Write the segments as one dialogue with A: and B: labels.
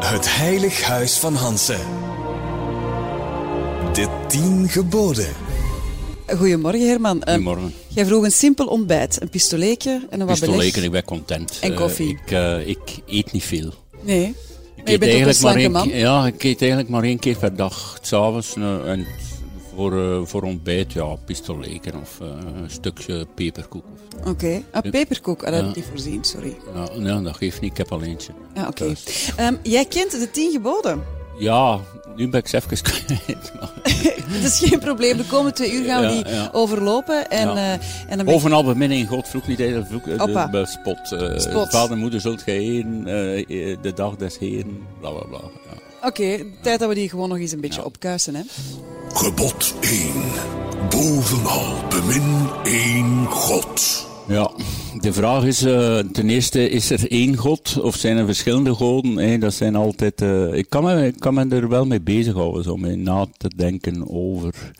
A: Het Heilig Huis van Hansen. De Tien Geboden.
B: Goedemorgen Herman. Eh,
C: Goedemorgen.
B: jij vroeg een simpel ontbijt. Een pistoletje en een wat beleg.
C: Pistoleken, ik ben content.
B: En
C: Eh,
B: koffie.
C: ik, eh, ik eet niet veel.
B: Nee.
C: Ik
B: Maar je bent ook een slanke
C: maar
B: man.
C: één, Ja, ik eet eigenlijk maar één keer per dag. S'avonds eh, en voor, eh, voor ontbijt, ja, pistoleken of eh, een stukje peperkoek. of zo.
B: Oké. Ah, peperkoek. Ah, dat heb ik niet voorzien, sorry.
C: Ja, nee, dat geeft niet, ik heb al eentje.
B: Ja, oké.
C: Thuis.
B: Ehm, jij kent de tien geboden.
C: Ja, nu ben ik ze even kwijt. maar-
B: Dat is geen probleem. De komende twee uur gaan we
C: Ja,
B: die
C: ja.
B: overlopen. En,
C: Ja.
B: eh, en dan ben je...
C: Bovenal beminnen in God, vloek niet ijdel, vloek eh,
B: Hoppa.
C: de, bij spot. eh,
B: Spot.
C: Vader en moeder zult gij eren, eh, eh, de dag des heren, bla bla bla. Ja.
B: Oké, tijd dat we die gewoon nog eens een beetje opkuisen. Hè?
D: Gebod 1. Bovenal bemin één God.
C: Ja, de vraag is eh, ten eerste, is er één god of zijn er verschillende goden? Eh, dat zijn altijd, eh, ik, kan me, ik kan me er wel mee bezighouden, zo mee na te denken over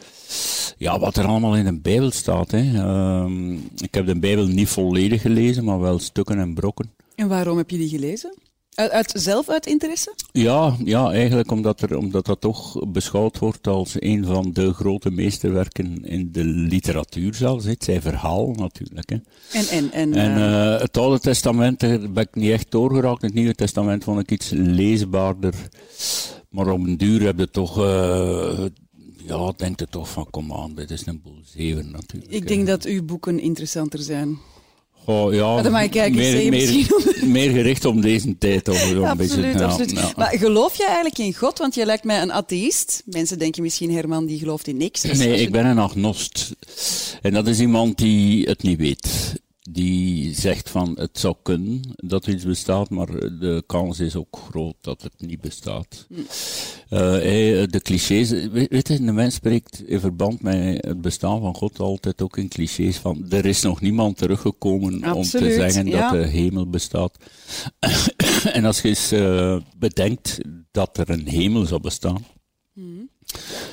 C: ja, wat er allemaal in de Bijbel staat. Hè. Ehm, ik heb de Bijbel niet volledig gelezen, maar wel stukken en brokken.
B: En waarom heb je die gelezen? Uit, uit- zelf uit interesse?
C: Ja, ja eigenlijk omdat, er, omdat dat toch beschouwd wordt als een van de grote meesterwerken in de literatuur zelfs. hè. Het zijn verhaal natuurlijk. Hè.
B: En, en, en,
C: En
B: eh,
C: eh, het Oude Testament daar ben ik niet echt doorgeraakt. Het Nieuwe Testament vond ik iets leesbaarder. Maar op een duur heb je toch... eh ja, denk je toch van, kom aan, dit is een boel zeven natuurlijk.
B: ik denk dat uw boeken interessanter zijn.
C: Goh, ja,
B: dat mag ik eigenlijk
C: meer,
B: zeggen,
C: meer,
B: misschien.
C: meer gericht om deze tijd. Of, zo een beetje,
B: absoluut,
C: ja,
B: absoluut.
C: ja.
B: Maar geloof jij eigenlijk in God? Want jij lijkt mij een atheïst. Mensen denken misschien, Herman, die gelooft in niks. Dus als
C: Nee,
B: je-
C: ik ben een agnost. En dat is iemand die het niet weet. Die zegt van het zou kunnen dat iets bestaat, maar de kans is ook groot dat het niet bestaat.
B: Mm.
C: Eh, hij, de clichés, weet weet je, de mens spreekt in verband met het bestaan van God altijd ook in clichés van er is nog niemand teruggekomen om
B: Absoluut,
C: te zeggen
B: ja.
C: dat de hemel bestaat. en als je eens eh, bedenkt dat er een hemel zou bestaan,
B: Mhm.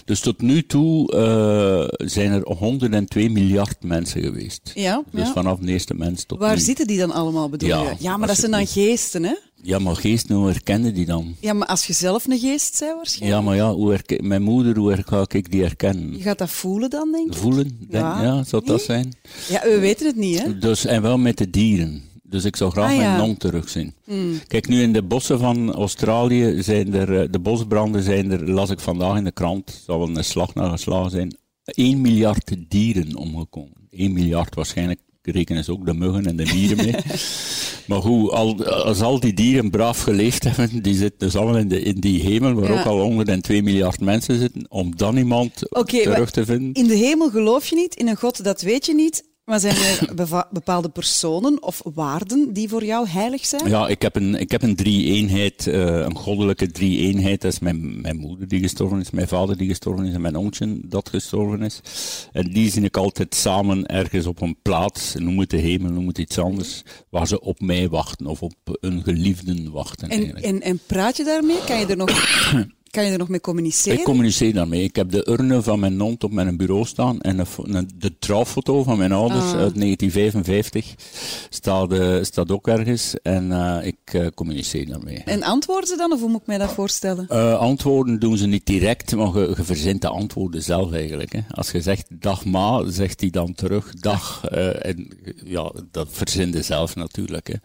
C: dus tot nu toe eh, zijn er 102 miljard mensen geweest.
B: Ja,
C: Dus
B: ja.
C: vanaf de eerste mens tot
B: Waar
C: nu.
B: zitten die dan allemaal, bedoel
C: Hmm. Ja,
B: je? Ja, maar dat
C: alsjeblieft.
B: zijn dan geesten, hè?
C: Ja, maar geest, hoe herkennen die dan?
B: Ja, maar als je zelf een geest bent,
C: Ja,
B: waarschijnlijk.
C: maar ja, hoe herken, mijn moeder, hoe her- ga ik die herkennen?
B: Je gaat dat voelen dan, denk ik.
C: Voelen, denk,
B: Ja.
C: ja. zou dat
B: Nee?
C: zijn?
B: Ja, we weten het niet, hè?
C: Dus, en wel met de dieren. Dus ik zou graag
B: Ah, ja. Hmm.
C: mijn non terugzien. Kijk, nu in de bossen van Australië zijn er, eh, de bosbranden zijn er, las ik vandaag in de krant, zal wel een slag naar geslagen zijn, 1 miljard dieren omgekomen. 1 miljard waarschijnlijk rekenen ze ook de muggen en de dieren mee. maar goed, al, als al die dieren braaf geleefd hebben, die zitten dus allemaal in, de, in die hemel, waar
B: Ja.
C: ook al 102 miljard mensen zitten, om dan iemand
B: Oké, maar
C: terug te vinden.
B: In de hemel geloof je niet, in een god dat weet je niet. Maar zijn er beva- bepaalde personen of waarden die voor jou heilig zijn?
C: Ja, ik heb een, ik heb een drie-eenheid, eh, een goddelijke drie-eenheid. Dat is mijn, mijn moeder die gestorven is, mijn vader die gestorven is en mijn oontje dat gestorven is. En die zie ik altijd samen ergens op een plaats, noem het de hemel, noem het iets anders, waar ze op mij wachten of op een geliefden wachten
B: En,
C: eigenlijk.
B: en, en praat je daarmee? Kan je er nog, kan je er nog mee communiceren?
C: Ik communiceer daarmee. Ik heb de urne van mijn non op mijn bureau staan en een fo- een- de trouwfoto van mijn ouders uit 1955 staat, eh, staat ook ergens en eh, ik eh, communiceer daarmee.
B: En antwoorden ze dan, of hoe moet ik mij dat voorstellen?
C: Eh, antwoorden doen ze niet direct, maar je, je verzint de antwoorden zelf eigenlijk. Hè. Als je zegt dag ma, zegt hij dan terug dag. eh, en ja, dat verzin je zelf natuurlijk. Hè.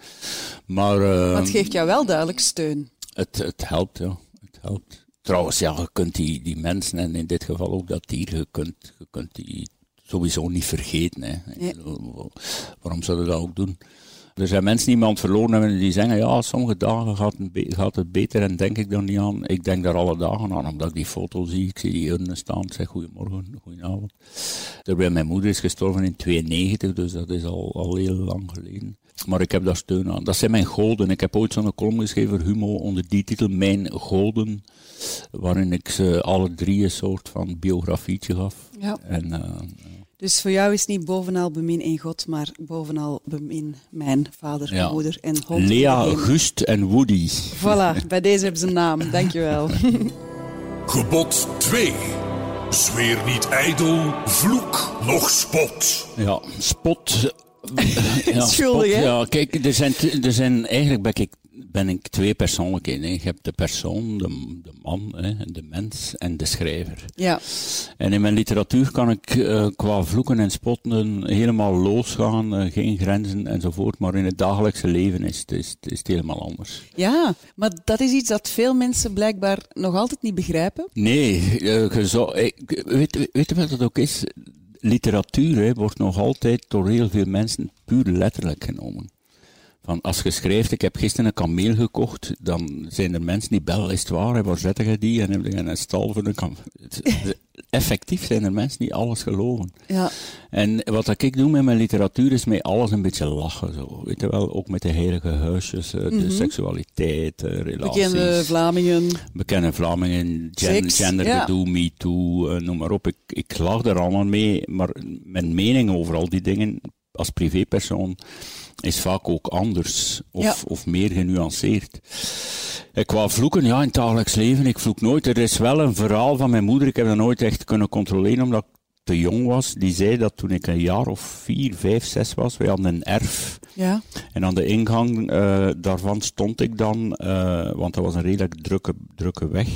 C: Maar eh,
B: Dat geeft jou wel duidelijk steun.
C: het, het helpt, ja. Het helpt. Trouwens, ja, je kunt die, die mensen, en in dit geval ook dat dier, je kunt, je kunt die sowieso niet vergeten. Hè. Ik
B: Nee.
C: bedoel, wa- Waarom zouden dat ook doen? Er zijn mensen die iemand verloren hebben en die zeggen, ja, sommige dagen gaat het, be- gaat het beter en denk ik daar niet aan. Ik denk daar alle dagen aan, omdat ik die foto zie, ik zie die urne staan, ik zeg goedemorgen, goedenavond. Terwijl mijn moeder is gestorven in 92, dus dat is al, al heel lang geleden. Maar ik heb daar steun aan. Dat zijn mijn goden. Ik heb ooit zo'n column geschreven, Humo, onder die titel Mijn Goden, waarin ik ze alle drie een soort van biografietje gaf.
B: Ja.
C: En, eh,
B: Dus voor jou is niet bovenal bemin in God, maar bovenal bemin mijn vader,
C: Ja.
B: moeder en God. in de
C: Lea,
B: hemel.
C: Gust en Woody.
B: Voilà, bij deze hebben ze een naam. Dankjewel.
D: Gebod 2. Zweer niet ijdel, vloek noch spot.
C: Ja, spot eh, ja,
B: Schuldig,
C: spot,
B: hè?
C: Ja, kijk, er zijn, t- er zijn, eigenlijk ben ik, ben ik twee persoonlijkheden. hè. Je hebt de persoon, de, de man, hè, de mens en de schrijver.
B: Ja,
C: En in mijn literatuur kan ik eh, qua vloeken en spotten helemaal losgaan, eh, geen grenzen enzovoort. Maar in het dagelijkse leven is, het- is, het- is het helemaal anders.
B: ja, maar dat is iets dat veel mensen blijkbaar nog altijd niet begrijpen.
C: Nee, eh, je zou- ik- weet, weet je wat het ook is? Literatuur hè, wordt nog altijd door heel veel mensen puur letterlijk genomen. Van als je schrijft, ik heb gisteren een kameel gekocht, dan zijn er mensen die bellen, is het waar, hè, waar zet je die? En heb je een stal voor een kameel? Het- Effectief zijn er mensen die alles geloven.
B: Ja,
C: En wat dat ik doe met mijn literatuur is met alles een beetje lachen. Zo. Weet je wel, ook met de heilige huisjes, eh, de seksualiteit, eh, relaties
B: bekende Vlamingen.
C: bekende Vlamingen, gen,
B: Seks,
C: gendergedoe, me too, eh, noem maar op. Ik, ik lag er allemaal mee, maar mijn mening over al die dingen als privépersoon is vaak ook anders of,
B: Ja.
C: of meer genuanceerd. En qua vloeken, ja, in het dagelijks leven, ik vloek nooit. Er is wel een verhaal van mijn moeder, ik heb dat nooit echt kunnen controleren omdat ik te jong was. Die zei dat toen ik een jaar of vier, vijf, zes was, wij hadden een erf.
B: Ja,
C: En aan de ingang eh, daarvan stond ik dan, eh, want dat was een redelijk drukke, drukke weg,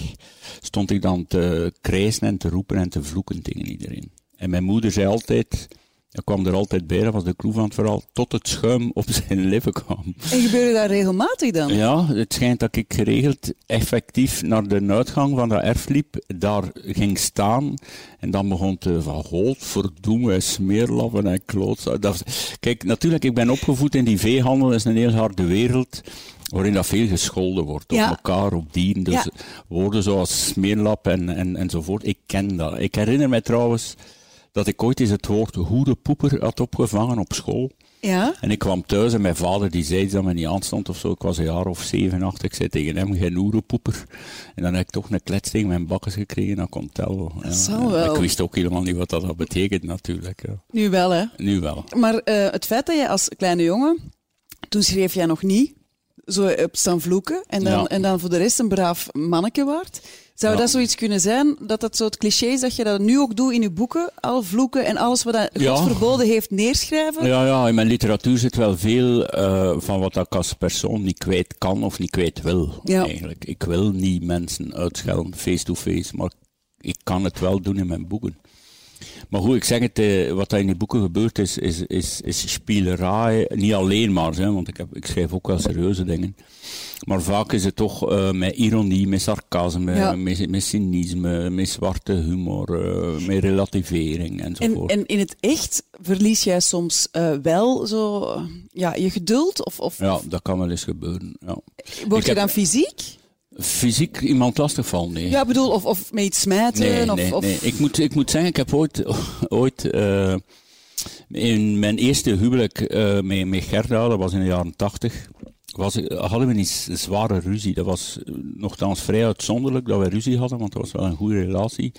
C: stond ik dan te krijsen en te roepen en te vloeken tegen iedereen. En mijn moeder zei altijd, dat kwam er altijd bij, dat was de clue van het verhaal, tot het schuim op zijn lippen kwam.
B: en gebeurde dat regelmatig dan?
C: Ja, het schijnt dat ik geregeld effectief naar de uitgang van dat erf liep, daar ging staan en dan begon te van godverdomme en smeerlappen en klootzak. Dat- Kijk, natuurlijk, ik ben opgevoed in die veehandel, dat is een heel harde wereld waarin dat veel gescholden wordt op
B: Ja.
C: elkaar, op dieren. Dus
B: Ja.
C: woorden zoals smeerlap en, en, enzovoort, ik ken dat. Ik herinner mij trouwens dat ik ooit eens het woord hoerenpoeper had opgevangen op school.
B: Ja,
C: En ik kwam thuis en mijn vader die zei iets dat me niet aanstond of zo. Ik was een jaar of zeven, acht. Ik zei tegen hem, geen oerenpoeper. En dan heb ik toch een klets tegen mijn bakkes gekregen. Dat komt wel. Ja.
B: zou
C: En
B: wel.
C: Ik wist ook helemaal niet wat dat, dat betekent natuurlijk. Ja.
B: nu wel hè.
C: Nu wel.
B: Maar eh, het feit dat je als kleine jongen, toen schreef jij nog niet, zo hebt staan vloeken en dan,
C: Ja.
B: en dan voor de rest een braaf manneke waard. Zou
C: Ja.
B: dat zoiets kunnen zijn, dat dat zo het cliché is dat je dat nu ook doet in je boeken, al vloeken en alles wat dat
C: Ja.
B: God verboden heeft neerschrijven?
C: Ja, ja, in mijn literatuur zit wel veel eh, van wat ik als persoon niet kwijt kan of niet kwijt wil.
B: Ja.
C: Eigenlijk. Ik wil niet mensen uitschelden face-to-face, maar ik kan het wel doen in mijn boeken. Maar goed, ik zeg het, eh, wat daar in die boeken gebeurt is, is, is, is spielerij. Niet alleen maar, hè, want ik, heb, ik schrijf ook wel serieuze dingen. Maar vaak is het toch eh, met ironie, met sarcasme,
B: Ja.
C: met, met cynisme, met zwarte humor, eh, met relativering
B: En,
C: enzovoort.
B: en in het echt verlies jij soms eh, wel zo, eh, ja, je geduld? Of, of
C: Ja, dat kan wel eens gebeuren. Ja.
B: word
C: ik
B: je
C: heb-
B: dan fysiek?
C: Fysiek iemand lastigvallen, nee.
B: Ja, ik bedoel, of, of met iets smijten?
C: nee,
B: of,
C: nee,
B: of,
C: nee. Ik, moet, ik moet zeggen, ik heb ooit, ooit eh, in mijn eerste huwelijk eh, met, met Gerda, dat was in de jaren tachtig, was, hadden we een z- zware ruzie. Dat was eh, nogthans vrij uitzonderlijk dat wij ruzie hadden, want dat was wel een goede relatie.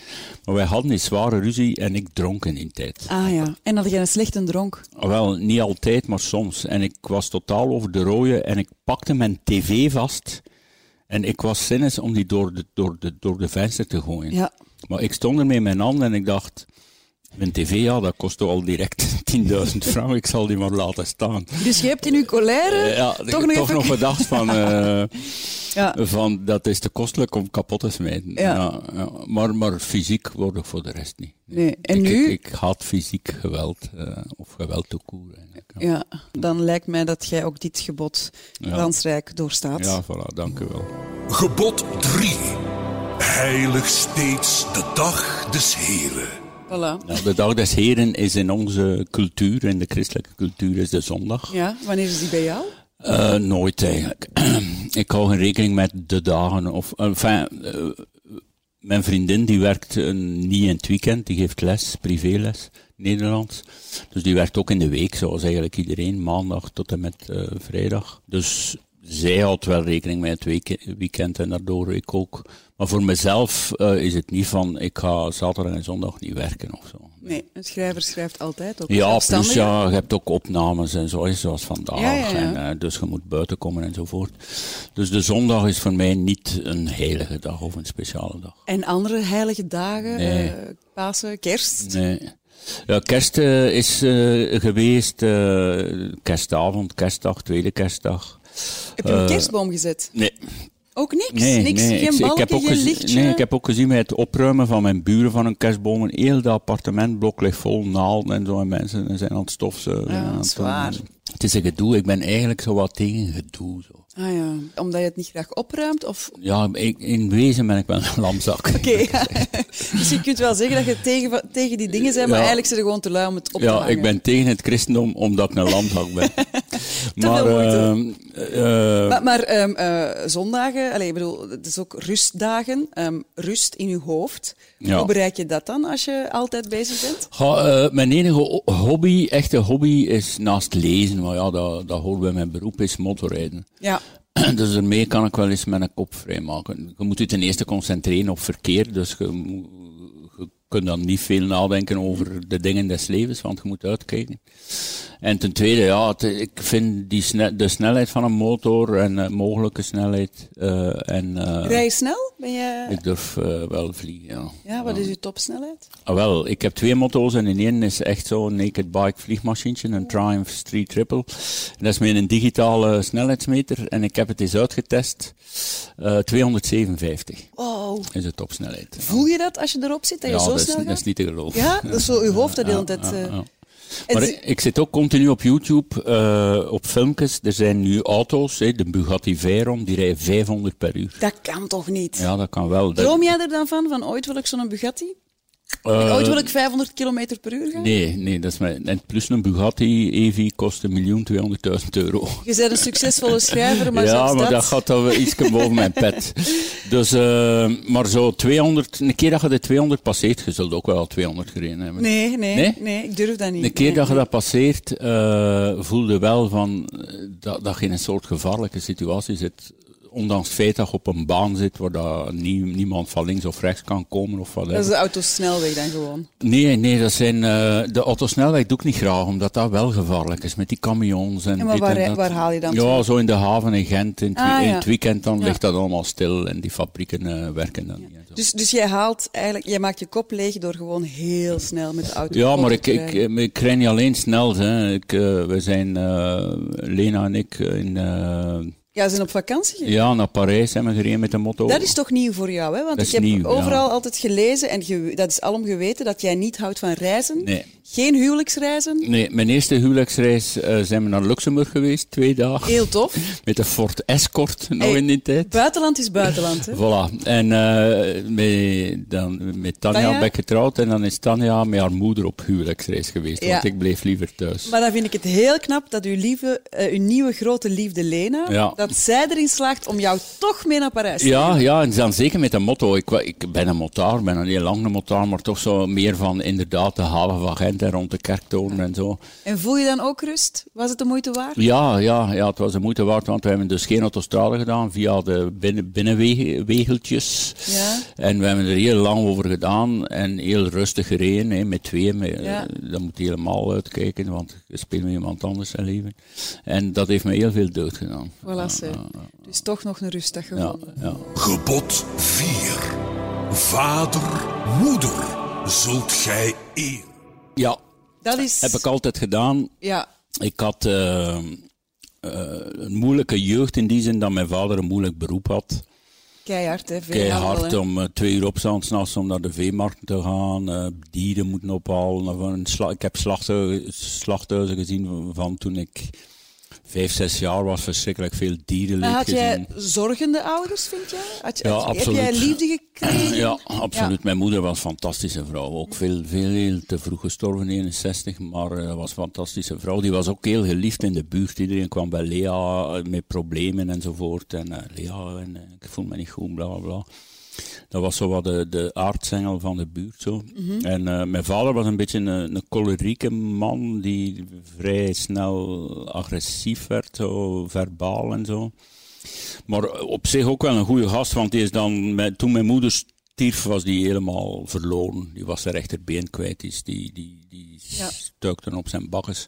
C: Maar wij hadden die zware ruzie en ik dronk in die tijd.
B: Ah ja, en had jij een slechte dronk?
C: Wel, niet altijd, maar soms. En ik was totaal over de rode en ik pakte mijn tv vast. En ik was zinnes om die door de, door de, door de venster te gooien.
B: Ja.
C: Maar ik stond ermee in mijn hand en ik dacht... Mijn tv, ja, dat kostte al direct 10.000 frank. Ik zal die maar laten staan.
B: Dus je hebt in je colère
C: Eh, ja,
B: toch nog even...
C: gedacht van... eh,
B: Ja.
C: van dat is te kostelijk om kapot te smijten.
B: Ja.
C: Ja, ja. Maar, maar fysiek word ik voor de rest niet.
B: Nee, en
C: ik,
B: nu?
C: Ik, ik haat fysiek geweld, eh, of geweld te koer. eigenlijk, ja.
B: Ja, dan lijkt mij dat jij ook dit gebod glansrijk doorstaat.
C: Ja, voilà, dank u wel.
D: Gebod 3. Heilig steeds de dag des Heren.
B: Voilà.
C: Nou, de Dag des Heren is in onze cultuur, in de christelijke cultuur, is de zondag.
B: Ja, wanneer is die bij jou?
C: Eh, nooit eigenlijk. ik hou geen rekening met de dagen. Of, enfin, eh, mijn vriendin die werkt eh, niet in het weekend, die geeft les, privéles, Nederlands. Dus die werkt ook in de week, zoals eigenlijk iedereen, maandag tot en met eh, vrijdag. Dus zij houdt wel rekening met het weke- weekend en daardoor ik ook. Maar voor mezelf eh, is het niet van ik ga zaterdag en zondag niet werken of zo.
B: Nee, een schrijver schrijft altijd ook.
C: Ja, plus
B: zelfstandig.
C: ja, je hebt ook opnames en zo, hè, zoals vandaag.
B: Ja, ja, ja.
C: En, eh, dus je moet buiten komen enzovoort. Dus de zondag is voor mij niet een heilige dag of een speciale dag.
B: En andere heilige dagen,
C: Nee.
B: eh, Pasen, kerst.
C: Nee. Ja, kerst eh, is eh, geweest, eh, kerstavond, kerstdag, tweede kerstdag.
B: Heb je een
C: Eh,
B: kerstboom gezet?
C: Nee,
B: Ook niks?
C: nee,
B: niks?
C: nee.
B: geen
C: ik,
B: balken,
C: ik heb ook
B: geen
C: gezien-
B: lichtje?
C: Nee, ik heb ook gezien bij het opruimen van mijn buren van een kerstboom. Een heel dat appartementblok ligt vol naalden en zo. En mensen zijn aan het stofzuigen.
B: Ja,
C: en aan
B: Ah, dat is
C: het-
B: waar.
C: Het is een gedoe. Ik ben eigenlijk zo wat tegen gedoe. Zo.
B: Ah ja, omdat je het niet graag opruimt? Of...
C: Ja, ik, in wezen ben ik wel een lamzak.
B: Oké, ja. dus je kunt wel zeggen dat je tegen, tegen die dingen bent, maar
C: Ja.
B: eigenlijk zijn er gewoon te lui om het op te
C: Ja,
B: hangen.
C: ik ben tegen het christendom omdat ik een lamzak ben. maar
B: veel
C: ehm, eh,
B: Maar, maar ehm, eh, zondagen, allez, ik bedoel, het is ook rustdagen, ehm, rust in je hoofd.
C: Ja.
B: Hoe bereik je dat dan als je altijd bezig bent?
C: Ja, eh, mijn enige o- hobby, echte hobby, is naast lezen, maar ja, dat, dat hoort bij mijn beroep, is motorrijden.
B: Ja,
C: Dus daarmee kan ik wel eens mijn kop vrijmaken. Je moet je ten eerste concentreren op verkeer, dus je, mo- je kunt dan niet veel nadenken over de dingen des levens, want je moet uitkijken. En ten tweede, ja, het- ik vind die sne- de snelheid van een motor en eh, mogelijke snelheid eh, en... eh,
B: rij je snel? Ben je...
C: ik durf eh, wel vliegen, ja.
B: Ja, wat is je topsnelheid?
C: Ah, wel, ik heb twee motto's en in één is echt zo'n naked bike vliegmachientje, een Triumph Street Triple. En dat is met een digitale snelheidsmeter en ik heb het eens uitgetest. Eh 257
B: Wow.
C: is de topsnelheid.
B: Voel je dat als je erop zit, dat je
C: ja,
B: zo
C: dat is,
B: snel
C: dat
B: gaat?
C: is niet te geloven.
B: Ja, dat is zo je hoofd dat de hele tijd...
C: Ja,
B: eh,
C: ja.
B: en
C: Maar
B: ze-
C: ik, ik zit ook continu op YouTube, eh, op filmpjes. Er zijn nu auto's, hè, de Bugatti Veyron, die rijden 500 per uur.
B: Dat kan toch niet?
C: Ja, dat kan wel. Dat-
B: Droom jij er dan van? Van ooit wil ik zo'n Bugatti?
C: eh,
B: ooit wil ik 500 kilometer per uur gaan?
C: Nee, nee, dat is mijn. En plus een Bugatti EV kost 1.200.000 euro.
B: Je bent een succesvolle schrijver, maar
C: ja,
B: zelfs
C: maar dat gaat dan wel iets boven mijn pet. Dus, eh, maar zo 200, een keer dat je de 200 passeert, je zult ook wel 200 gereden hebben.
B: Nee, nee, nee,
C: Nee?
B: ik durf dat niet.
C: Een keer
B: Nee.
C: dat je dat passeert, eh voelde wel van, eh, dat, dat je in een soort gevaarlijke situatie zit. Ondanks het feit dat je op een baan zit waar dat nie- niemand van links of rechts kan komen of wat.
B: Dat is de autosnelweg dan gewoon.
C: Nee, nee, dat zijn, eh, de autosnelweg doe ik niet graag, omdat dat wel gevaarlijk is met die camions en
B: Ja, maar
C: dit
B: waar-
C: en dat.
B: waar haal je dan
C: Ja,
B: vandaan?
C: zo in de haven in Gent. In, het
B: Ah,
C: wie- in
B: ja.
C: het weekend dan
B: Ja.
C: ligt dat allemaal stil en die fabrieken eh, werken dan niet. en zo.
B: Dus, dus jij haalt eigenlijk, jij maakt je kop leeg door gewoon heel snel met de auto
C: Ja,
B: rond
C: maar
B: te
C: ik, eh, ik,
B: rijden.
C: ik, rij niet alleen snel. Hè. Ik, eh, we zijn, eh, Lena en ik, in, eh,
B: Ja, ze zijn op vakantie gegaan.
C: ja, naar Parijs hebben we gereden met de motor.
B: Dat is toch nieuw voor jou, hè? Want
C: Dat
B: ik
C: is
B: heb
C: nieuw, ja.
B: overal altijd gelezen, en ge- dat is alom geweten, dat jij niet houdt van reizen.
C: Nee.
B: Geen huwelijksreizen.
C: Nee, mijn eerste huwelijksreis eh, zijn we naar Luxemburg geweest, twee dagen.
B: Heel tof.
C: Met de Ford Escort, nog
B: Hey,
C: in die tijd.
B: Buitenland is buitenland, hè?
C: Voilà. En eh met, dan, met Tanja,
B: Tanja?
C: ben ik getrouwd en dan is Tanja met haar moeder op huwelijksreis geweest,
B: Ja.
C: want ik bleef liever thuis.
B: Maar dan vind ik het heel knap dat uw, lieve, eh, uw nieuwe grote liefde Lena,
C: Ja.
B: dat zij erin slaagt om jou toch mee naar Parijs te
C: ja, ja, en dan zeker met dat motto. Ik, wa- ik ben een motaar, ben een heel lange motaar, maar toch zo meer van inderdaad de haven van Gent en rond de kerktoren en zo.
B: En voel je dan ook rust? Was het de moeite waard?
C: Ja, ja, ja, het was de moeite waard, want we hebben dus geen autostrade gedaan via de binnen, binnenwegeltjes.
B: Ja.
C: En we hebben er heel lang over gedaan en heel rustig gereden, hè, met twee. Met,
B: Ja.
C: eh, Dan moet je helemaal uitkijken, want je speelt met iemand anders zijn leven. En dat heeft me heel veel deugd gedaan.
B: Voilà, ze. Dus toch nog een rustdag
C: Ja,
B: gevonden.
C: ja.
D: Gebod 4. Vader, moeder, zult gij eer.
C: ja,
B: Dat is...
C: heb ik altijd gedaan.
B: Ja.
C: Ik had eh, eh, een moeilijke jeugd in die zin dat mijn vader een moeilijk beroep had.
B: Keihard, hè? Veel
C: keihard
B: handel, hè.
C: om eh, twee uur opstaan s'nachts om naar de veemarkt te gaan. eh, dieren moeten ophalen. Of een sla- ik heb slachthuizen, slachthuizen gezien van- van toen ik vijf, zes jaar was. Verschrikkelijk veel
B: Maar
C: dierenleed
B: had jij
C: gezien.
B: zorgende ouders, vind jij? Had je,
C: Ja,
B: had-
C: absoluut.
B: Heb jij liefde gekregen?
C: Ja, absoluut. Mijn moeder was een fantastische vrouw. Ook veel, veel heel te vroeg gestorven, 61, maar eh, was een fantastische vrouw. Die was ook heel geliefd in de buurt. Iedereen kwam bij Lea eh, met problemen enzovoort. En eh, Lea, en, eh, ik voel me niet goed, bla bla bla. Dat was zo wat de, de aardsengel van de buurt. Zo. En eh, mijn vader was een beetje een, een cholerieke man die vrij snel agressief werd, zo, verbaal en zo. Maar op zich ook wel een goede gast, want die is dan, met- toen mijn moeder stierf, was die helemaal verloren. Die was zijn rechterbeen kwijt, die, die, die, die
B: Ja.
C: stuikte op zijn bakkes.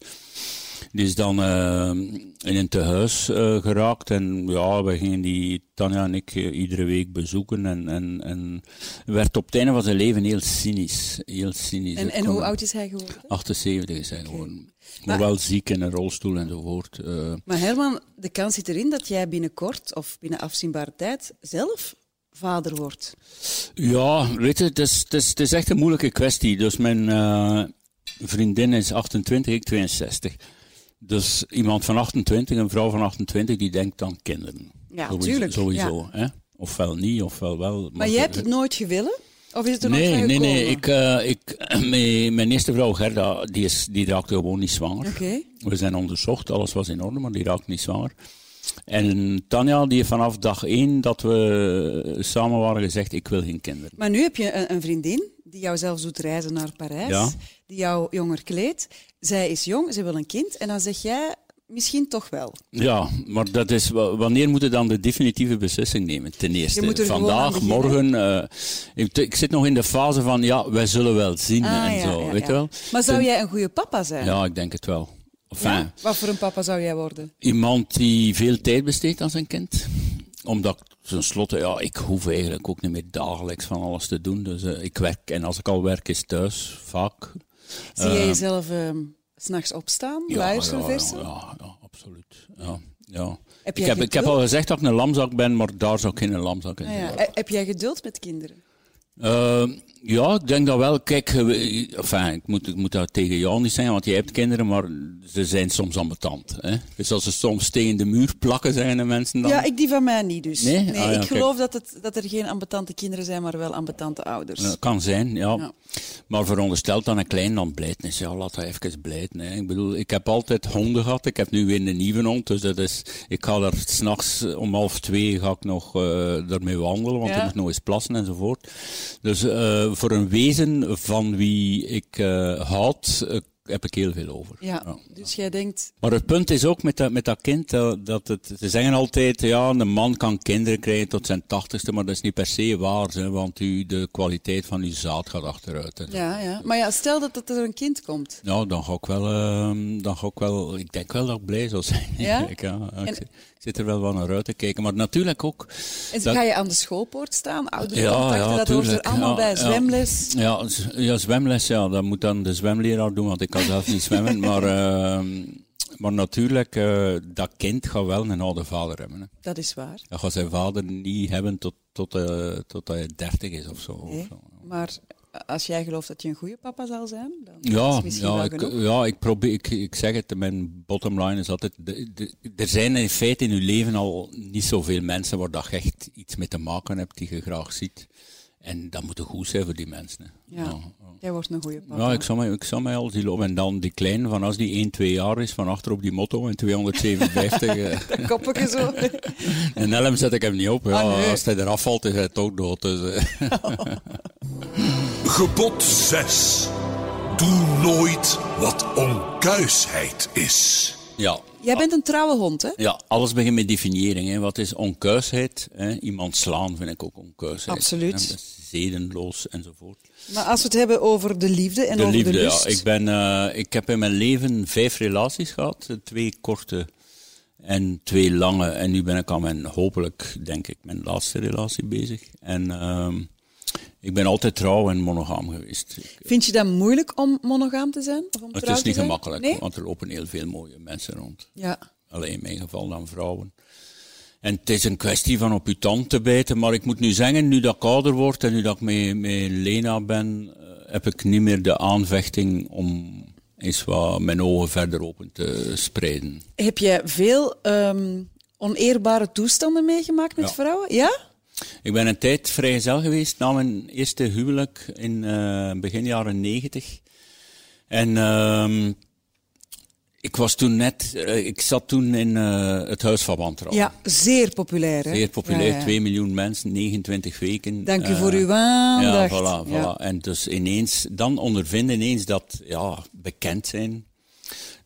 C: Die is dan eh, in een tehuis eh, geraakt. En ja, we gingen die, Tanja en ik, eh, iedere week bezoeken. En, en, en werd op het einde van zijn leven heel cynisch. Heel cynisch.
E: En,
C: Het
E: en
C: kon-
E: hoe oud is hij geworden?
C: 78 is hij geworden.
B: Maar-
C: Maar wel ziek in een rolstoel enzovoort. eh
B: Maar Herman, de kans zit erin dat jij binnenkort of binnen afzienbare tijd zelf vader wordt.
C: Ja, weet je, het is, het, is, het is echt een moeilijke kwestie. Dus mijn eh, vriendin is 28, ik 62. Dus iemand van 28, een vrouw van 28, die denkt aan kinderen.
B: Ja,
C: Sowieso-
B: tuurlijk,
C: Sowieso, hè? Ofwel niet, ofwel wel.
B: Maar jij hebt het nooit gewillen? Of is het er nooit
C: Nee,
B: van
C: nee,
B: gekomen?
C: nee. Ik, eh, ik, mijn, mijn eerste vrouw Gerda, die, is, die raakte gewoon niet zwanger.
B: Oké.
C: We zijn onderzocht, alles was in orde, maar die raakte niet zwanger. En Tanja, die heeft vanaf dag één dat we samen waren gezegd, ik wil geen kinderen.
B: Maar nu heb je een, een vriendin die jou zelfs doet reizen naar Parijs,
C: Ja.
B: die jou jonger kleedt. Zij is jong, ze wil een kind. En dan zeg jij misschien toch wel.
C: Ja, maar dat is, wa- wanneer moet je dan de definitieve beslissing nemen? Ten eerste,
B: Je moet er gewoon aan
C: vandaag,
B: beginnen.
C: morgen. eh, ik, ik zit nog in de fase van, ja, wij zullen wel zien
B: Ah,
C: en
B: ja,
C: zo,
B: ja,
C: weet
B: ja.
C: je wel?
B: Maar zou
C: Ten-
B: jij een goede papa zijn?
C: Ja, ik denk het wel. Enfin,
B: Ja? Wat voor een papa zou jij worden?
C: iemand die veel tijd besteedt aan zijn kind. Omdat ik tenslotte, ja, ik hoef eigenlijk ook niet meer dagelijks van alles te doen. Dus eh, ik werk, en als ik al werk, is thuis, vaak.
B: Zie jij jezelf ehm, 's s'nachts opstaan, luisteren,
C: Eh, ja,
B: versen?
C: Ja, ja, ja, absoluut. Ja, ja.
B: Heb jij
C: ik heb,
B: geen
C: ik heb
B: hulp?
C: al gezegd dat ik een lamzak ben, maar daar zou ik geen lamzak in
B: Ah,
C: zijn.
B: ja. Eh, Heb jij geduld met kinderen?
C: Eh, ja, ik denk dat wel. Kijk, eh, we- enfin, ik, moet, ik moet dat tegen jou niet zijn, want je hebt kinderen, maar ze zijn soms ambetant. Hè? Dus als ze soms tegen de muur plakken, zeggen de mensen dan.
B: Ja, ik die van mij niet dus.
C: Nee? Ah, ja,
B: ik
C: kijk.
B: geloof dat, het, dat er geen ambetante kinderen zijn, maar wel ambetante ouders.
C: Eh, kan zijn, ja.
B: Ja.
C: Maar verondersteld dat een klein dan blijft. is, ja, laat dat even blijten. Hè. Ik bedoel, ik heb altijd honden gehad. Ik heb nu weer een nieuwe hond. Dus dat is, ik ga er s'nachts eh, om half twee ga ik nog eh daarmee wandelen. Want
B: Ja.
C: ik moet nog eens plassen enzovoort. Dus eh, voor een wezen van wie ik eh houd, eh, heb ik heel veel over.
B: Ja,
C: Ja.
B: dus jij denkt,
C: Maar het punt is ook met dat, met dat kind, dat, dat het, ze zeggen altijd, ja, een man kan kinderen krijgen tot zijn tachtigste, maar dat is niet per se waar, hè, want u, de kwaliteit van uw zaad gaat achteruit. en zo.
B: ja, ja. Maar ja, stel dat, dat er een kind komt.
C: Nou, dan ga, ik wel, ehm, dan ga ik wel, ik denk wel dat ik blij zal zijn.
B: Ja?
C: eigenlijk, ja. ik,
B: En-
C: zit- ik zit er wel wat naar uit te kijken, maar natuurlijk ook...
B: En
C: dat-
B: ga je aan de schoolpoort staan, ouderencontacten, dat hoort
C: tuurlijk,
B: er allemaal
C: ja,
B: bij,
C: ja.
B: zwemles.
C: Ja, z- ja, zwemles, ja, dat moet dan de zwemleraar doen, want ik kan zelf niet zwemmen. Maar, ehm, maar natuurlijk, eh, dat kind gaat wel een oude vader hebben. Hè.
B: Dat is waar.
C: Dat gaat zijn vader niet hebben tot, tot, eh, tot hij 30 is of zo.
B: Nee.
C: Of zo.
B: Maar als jij gelooft dat je een goede papa zal zijn, dan is
C: Ja,
B: het misschien
C: ja,
B: wel
C: ik,
B: genoeg.
C: ja ik, probeer, ik, ik zeg het, mijn bottom line is altijd, de- de- er zijn in feite in uw leven al niet zoveel mensen waar dat je echt iets mee te maken hebt die je graag ziet. En dat moet goed zijn voor die mensen. hè.
B: Ja. Jij wordt een goede papa.
C: Ja, Nou, oh. ik zou mij, ik zou mij al die lopen. En dan die kleine, van als die 1, 2 jaar is, van achter op die motto en 257. eh,
B: Koppige zo.
C: en helm zet ik hem niet op. Ja,
B: Ah, nee.
C: Als hij eraf valt, is hij toch dood. Dus, eh.
D: Gebod 6. Doe nooit wat onkuisheid is.
C: ja.
B: Jij bent een trouwe hond, hè?
C: Ja, alles begint met definiëring. Hè. Wat is onkuisheid? Hè? Iemand slaan vind ik ook onkuisheid.
B: Absoluut.
C: Hè, dat is zedenloos enzovoort.
B: Maar als we het hebben over de liefde en
C: de
B: over
C: liefde,
B: de lust...
C: ja. Ik, ben, eh, ik heb in mijn leven vijf relaties gehad. eh, Twee korte en twee lange. En nu ben ik aan mijn, hopelijk, denk ik, mijn laatste relatie bezig. En ehm, ik ben altijd trouw en monogaam geweest. Ik-
B: Vind je dat moeilijk om monogaam te zijn? Of om
C: het
B: trouw
C: is
B: te
C: niet
B: zijn?
C: gemakkelijk,
B: Nee?
C: want er lopen heel veel mooie mensen rond.
B: Ja.
C: Alleen in mijn geval dan vrouwen. En het is een kwestie van op uw tand te bijten. Maar ik moet nu zeggen, nu dat ik ouder word en nu dat ik met, met Lena ben, eh, heb ik niet meer de aanvechting om eens wat mijn ogen verder open te spreiden.
B: Heb jij veel ehm, oneerbare toestanden meegemaakt met
C: Ja.
B: vrouwen? Ja?
C: Ik ben een tijd vrijgezel geweest na mijn eerste huwelijk in eh, begin jaren negentig. En ehm, ik was toen net, eh, ik zat toen in eh, het Huis van Wantrouwen.
B: Ja, zeer populair, hè?
C: Zeer populair,
B: Ja, ja.
C: 2 miljoen mensen, 29 weken.
B: Dank u
C: Eh,
B: voor uw aandacht.
C: Ja, voilà, voilà.
B: Ja.
C: En dus ineens, dan ondervinden ineens dat ja, bekend zijn,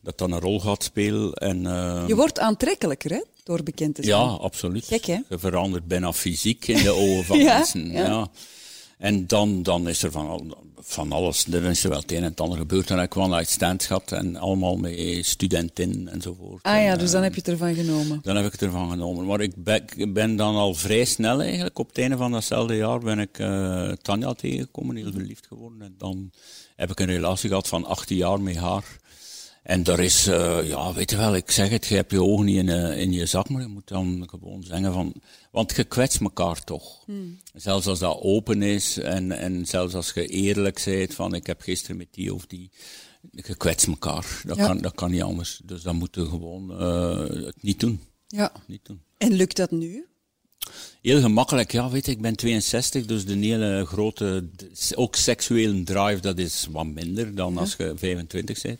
C: dat dan een rol gaat spelen. En, eh,
B: Je wordt aantrekkelijker, hè? Door bekend te zijn.
C: ja, absoluut.
B: Gek, hè?
C: Je verandert bijna fysiek in de ogen van
B: Ja,
C: mensen.
B: ja.
C: Ja. En dan, dan is er van, al- van alles, er is er wel het een en het ander gebeurd. En ik kwam uit Stendschat en allemaal met studentin enzovoort.
B: Ah ja,
C: En,
B: dus
C: eh,
B: dan heb je het ervan genomen.
C: dan heb ik het ervan genomen. Maar ik ben, ik ben dan al vrij snel eigenlijk. Op het einde van datzelfde jaar ben ik eh, Tanja tegengekomen, heel verliefd geworden. En dan heb ik een relatie gehad van 18 jaar met haar. En daar is, eh, ja, weet je wel, ik zeg het, je hebt je ogen niet in, eh, in je zak, maar je moet dan gewoon zeggen van, want je kwetst elkaar toch. Zelfs als dat open is en, en zelfs als je eerlijk bent van, ik heb gisteren met die of die, je kwetst elkaar. Dat,
B: Ja.
C: kan, dat kan niet anders. Dus dan moet je gewoon eh, het niet doen
B: Ja.
C: niet doen.
B: En lukt dat nu?
C: Oh, Heel gemakkelijk, ja, weet je, ik ben 62, dus de hele grote, ook seksuele drive, dat is wat minder dan als je 25 bent.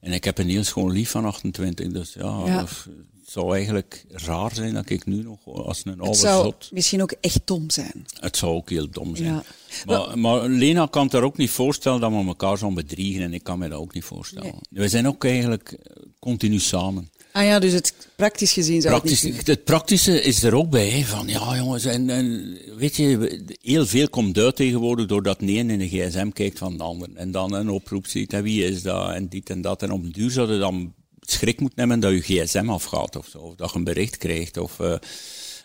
C: En ik heb een heel schoon lief van 28, dus ja,
B: Ja.
C: of- het zou eigenlijk raar zijn dat ik nu nog als een oude
B: Het zou
C: zot...
B: misschien ook echt dom zijn.
C: Het zou ook heel dom zijn.
B: Ja.
C: Maar, maar Lena kan het daar ook niet voorstellen dat we elkaar zo'n bedriegen en ik kan me dat ook niet voorstellen. We zijn ook eigenlijk eh, continu samen.
B: Ah ja, dus het praktisch gezien zou
C: Praktisch,
B: het niet
C: het praktische is er ook bij. hè, Van, ja, jongens, en, en, weet je, we- heel veel komt uit tegenwoordig doordat de een in de gsm kijkt van de ander. En dan een oproep ziet, en wie is dat, en dit en dat. En op den duur zou je dan schrik moeten nemen dat je gsm afgaat of zo. Of dat je een bericht krijgt. Of, eh,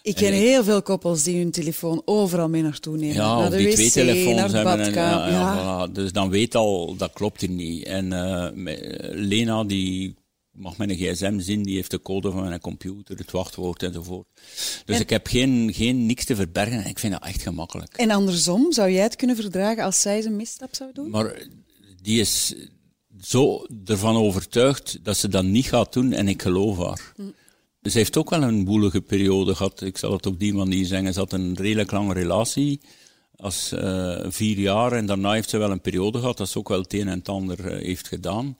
B: Ik ken
C: En ik-
B: heel veel koppels die hun telefoon overal mee naartoe nemen.
C: ja,
B: naar
C: of
B: de
C: die
B: wc,
C: twee telefoons
B: naar de
C: hebben. En,
B: badkamer.
C: ja, ja, voilà. Dus dan weet al, dat klopt hier niet. En eh, me- Lena, die mag mijn gsm zien, die heeft de code van mijn computer, het wachtwoord enzovoort. Dus ik heb geen, geen niks te verbergen en ik vind dat echt gemakkelijk.
B: En andersom, zou jij het kunnen verdragen als zij een misstap zou doen?
C: Maar die is zo ervan overtuigd dat ze dat niet gaat doen en ik geloof haar. Dus Ze heeft ook wel een woelige periode gehad. Ik zal het op die manier zeggen. Ze had een redelijk lange relatie. Als eh, vier jaar. En daarna heeft ze wel een periode gehad. Dat ze ook wel het een en het ander eh, heeft gedaan.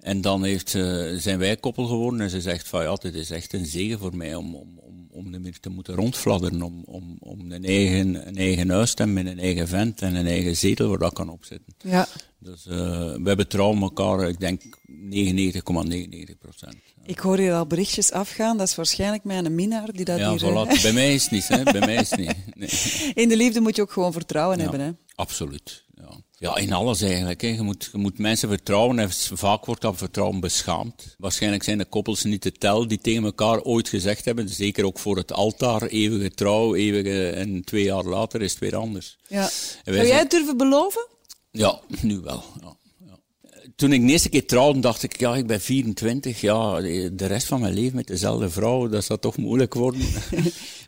C: En dan heeft ze, zijn wij koppel geworden. En ze zegt van ja, dit is echt een zegen voor mij om, om, om, om niet meer te moeten rondfladderen. Om, om, om een, eigen, een eigen huis te hebben met een eigen vent en een eigen zetel waar dat kan opzitten.
B: Ja.
C: Dus eh, we betrouwen elkaar, ik denk 99,99 procent.
B: Ik hoor hier al berichtjes afgaan. Dat is waarschijnlijk mijn minnaar die dat
C: Ja,
B: hier...
C: voilà.
B: eh,
C: Bij mij is het niet, hè. Bij mij is het niet. Nee.
B: In de liefde moet je ook gewoon vertrouwen hebben. Hè?
C: Ja, absoluut. Ja. ja, in alles eigenlijk. Hè. Je, moet, je moet mensen vertrouwen en s- vaak wordt dat vertrouwen beschaamd. Waarschijnlijk zijn de koppels niet te tel die tegen elkaar ooit gezegd hebben. Zeker ook voor het altaar, eeuwige trouw, eeuwige... En twee jaar later is het weer anders.
B: Ja.
C: En wij
B: Zou jij
C: zijn-
B: het durven beloven?
C: Ja, nu wel. Ja. ja. Toen ik de eerste keer trouwde, dacht ik, ja, ik ben 24, ja, de rest van mijn leven met dezelfde vrouw, dat zou toch moeilijk worden.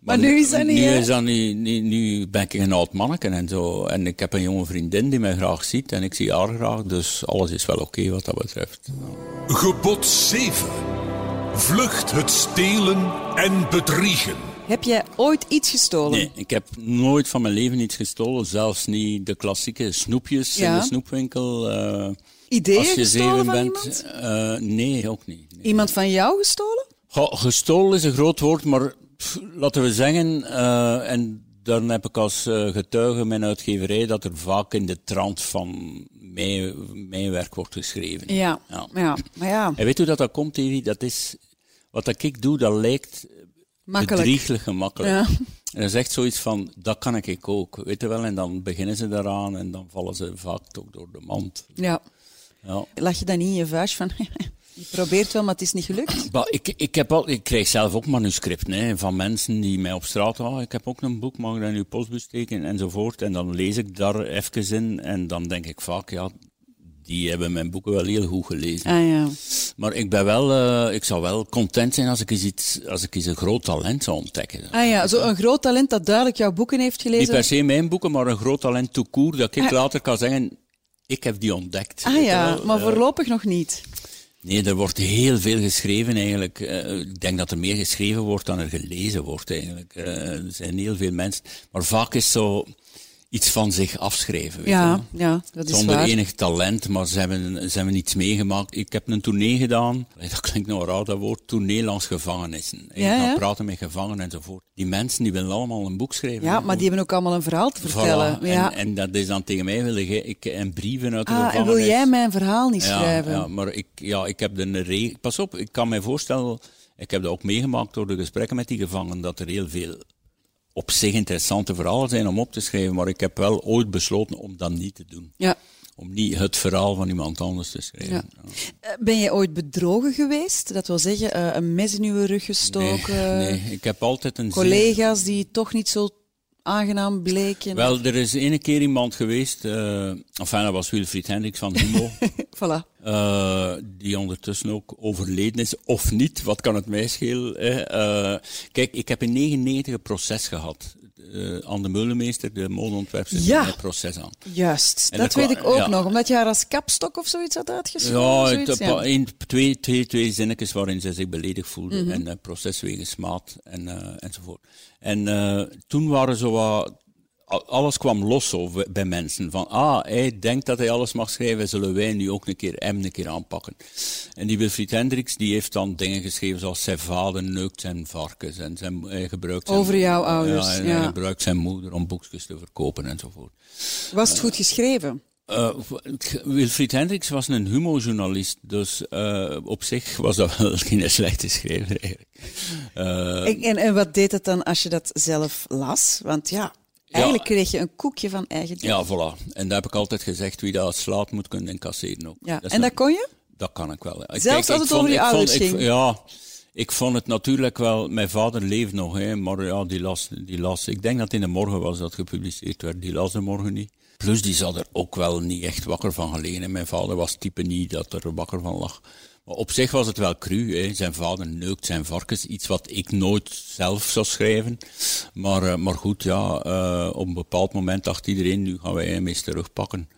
C: maar,
B: nu is dat niet,
C: Nu,
B: hè?
C: is dat niet- nu, nu ben ik een oud manneken en zo. En ik heb een jonge vriendin die mij graag ziet en ik zie haar graag, dus alles is wel oké wat dat betreft.
D: Gebod 7. Vlucht het stelen en bedriegen.
B: Heb jij ooit iets gestolen?
C: Nee, ik heb nooit van mijn leven iets gestolen, zelfs niet de klassieke snoepjes
B: Ja.
C: in de snoepwinkel. eh,
B: Ideeën
C: als je
B: gestolen
C: zeven
B: van
C: bent. eh, nee, ook niet. Nee.
B: Iemand van jou gestolen?
C: Goh, gestolen is een groot woord, maar pff, laten we zeggen, eh, en dan heb ik als eh, getuige mijn uitgeverij, dat er vaak in de trant van mijn, mijn werk wordt geschreven.
B: Ja.
C: Ja.
B: Maar ja,
C: En weet je hoe dat, dat komt, Evi? Dat is, wat dat ik doe, dat lijkt
B: makkelijk.
C: bedrieglijk gemakkelijk.
B: Ja.
C: En dan zegt zoiets van, dat kan ik ook, weet je wel? En dan beginnen ze daaraan en dan vallen ze vaak toch door de mand.
B: Ja.
C: Ja.
B: Lach je dan niet in je vuist van... je probeert wel, maar het is niet gelukt?
C: Bah, ik, ik, heb al, ik krijg zelf ook manuscripten hè, van mensen die mij op straat houden. Ik heb ook een boek, mag ik dat in uw postbus steken enzovoort. En dan lees ik daar even in en dan denk ik vaak, ja, die hebben mijn boeken wel heel goed gelezen.
B: Ah ja.
C: Maar ik, ben wel, eh, ik zou wel content zijn als ik eens, iets, als ik eens een groot talent zou ontdekken.
B: Ah ja, zo een groot talent dat duidelijk jouw boeken heeft
C: Niet
B: gelezen.
C: per se mijn boeken, maar een groot talent tout court, dat ik later kan zeggen, ik heb die ontdekt.
B: Ah
C: Weet
B: ja,
C: je wel?
B: maar
C: Eh,
B: voorlopig nog niet.
C: Nee, er wordt heel veel geschreven eigenlijk. Eh, ik denk dat er meer geschreven wordt dan er gelezen wordt eigenlijk. Eh, er zijn heel veel mensen. Maar vaak is zo iets van zich afschrijven. Weet je
B: Ja,
C: wel.
B: ja, dat is
C: Zonder
B: waar.
C: enig talent, maar ze hebben, ze hebben iets meegemaakt. Ik heb een tournee gedaan. Dat klinkt nou raar, dat woord. Tournee langs gevangenissen. Ik
B: Ja,
C: ga
B: ja.
C: praten met gevangenen enzovoort. Die mensen die willen allemaal een boek schrijven.
B: Ja, maar die hebben ook allemaal een verhaal te
C: Voilà.
B: vertellen. ja.
C: En, en dat is dan tegen mij willen. ge- Ik, en brieven uit de
B: ah, en
C: gevangenis.
B: wil jij mijn verhaal niet
C: Ja,
B: schrijven?
C: Ja, maar ik, ja, ik heb een re- Pas op, ik kan mij voorstellen, ik heb dat ook meegemaakt door de gesprekken met die gevangenen, dat er heel veel op zich interessante verhalen zijn om op te schrijven, maar ik heb wel ooit besloten om dat niet te doen.
B: Ja.
C: Om niet het verhaal van iemand anders te schrijven.
B: Ja.
C: Ja.
B: Eh, Ben jij ooit bedrogen geweest? Dat wil zeggen, eh, een mes in uw rug gestoken,
C: Nee, nee, ik heb altijd een zeer-
B: eh, collega's die toch niet zo aangenaam bleken.
C: Wel, er is ene keer iemand geweest, eh enfin, dat was Wilfried Hendricks van Humo,
B: Voilà.
C: eh, die ondertussen ook overleden is, of niet, wat kan het mij schelen? Hè? Eh, kijk, ik heb in 1999 een proces gehad. Eh Anne de Meulemeester, de modeontwerper, zit
B: Ja.
C: in het proces aan.
B: Juist,
C: En
B: dat
C: dat
B: weet
C: kwa-
B: ik ook
C: ja.
B: nog. Omdat je haar als kapstok of zoiets had uitgeschreven.
C: Ja,
B: zoiets,
C: het-
B: ja.
C: een- twee, twee, twee zinnetjes waarin ze zich beledigd voelden
B: Mhm.
C: en eh, proces wegens maat en, eh, enzovoort. En eh, toen waren zo wat, al- alles kwam los zo w- bij mensen. Van, ah, hij denkt dat hij alles mag schrijven, zullen wij nu ook een keer hem een keer aanpakken. En die Wilfried Hendricks, die heeft dan dingen geschreven zoals zijn vader neukt zijn varkens en zijn, hij gebruikt zijn-
B: Over jouw ouders,
C: en
B: ja.
C: hij gebruikt zijn moeder om boekjes te verkopen enzovoort.
B: Was het goed geschreven?
C: Eh, Wilfried Hendricks was een humojournalist, dus eh, op zich was dat wel geen slechte schrijver eigenlijk. Eh,
B: En, en, en wat deed het dan als je dat zelf las? Want ja, eigenlijk kreeg je een koekje van eigen deeg.
C: ja, voilà. En daar heb ik altijd gezegd, wie dat slaat moet kunnen incasseren ook.
B: Ja.
C: is
B: En dat
C: nat-
B: kon je?
C: dat kan ik wel. Ik-
B: Zelfs als
C: ik
B: het
C: vond-
B: over je
C: ik vond-
B: ouders
C: ik-
B: ging?
C: ja, ik vond het natuurlijk wel... Mijn vader leeft nog, hè, maar ja, die las, die las... Ik denk dat het in de morgen was dat gepubliceerd werd. Die las de morgen niet. Plus, die zat er ook wel niet echt wakker van gelegen. hè. Mijn vader was type niet dat er wakker van lag. Maar op zich was het wel cru. Hè. Zijn vader neukt zijn varkens. Iets wat ik nooit zelf zou schrijven. Maar, eh, maar goed, ja, eh, op een bepaald moment dacht iedereen... Nu gaan wij hem eens terugpakken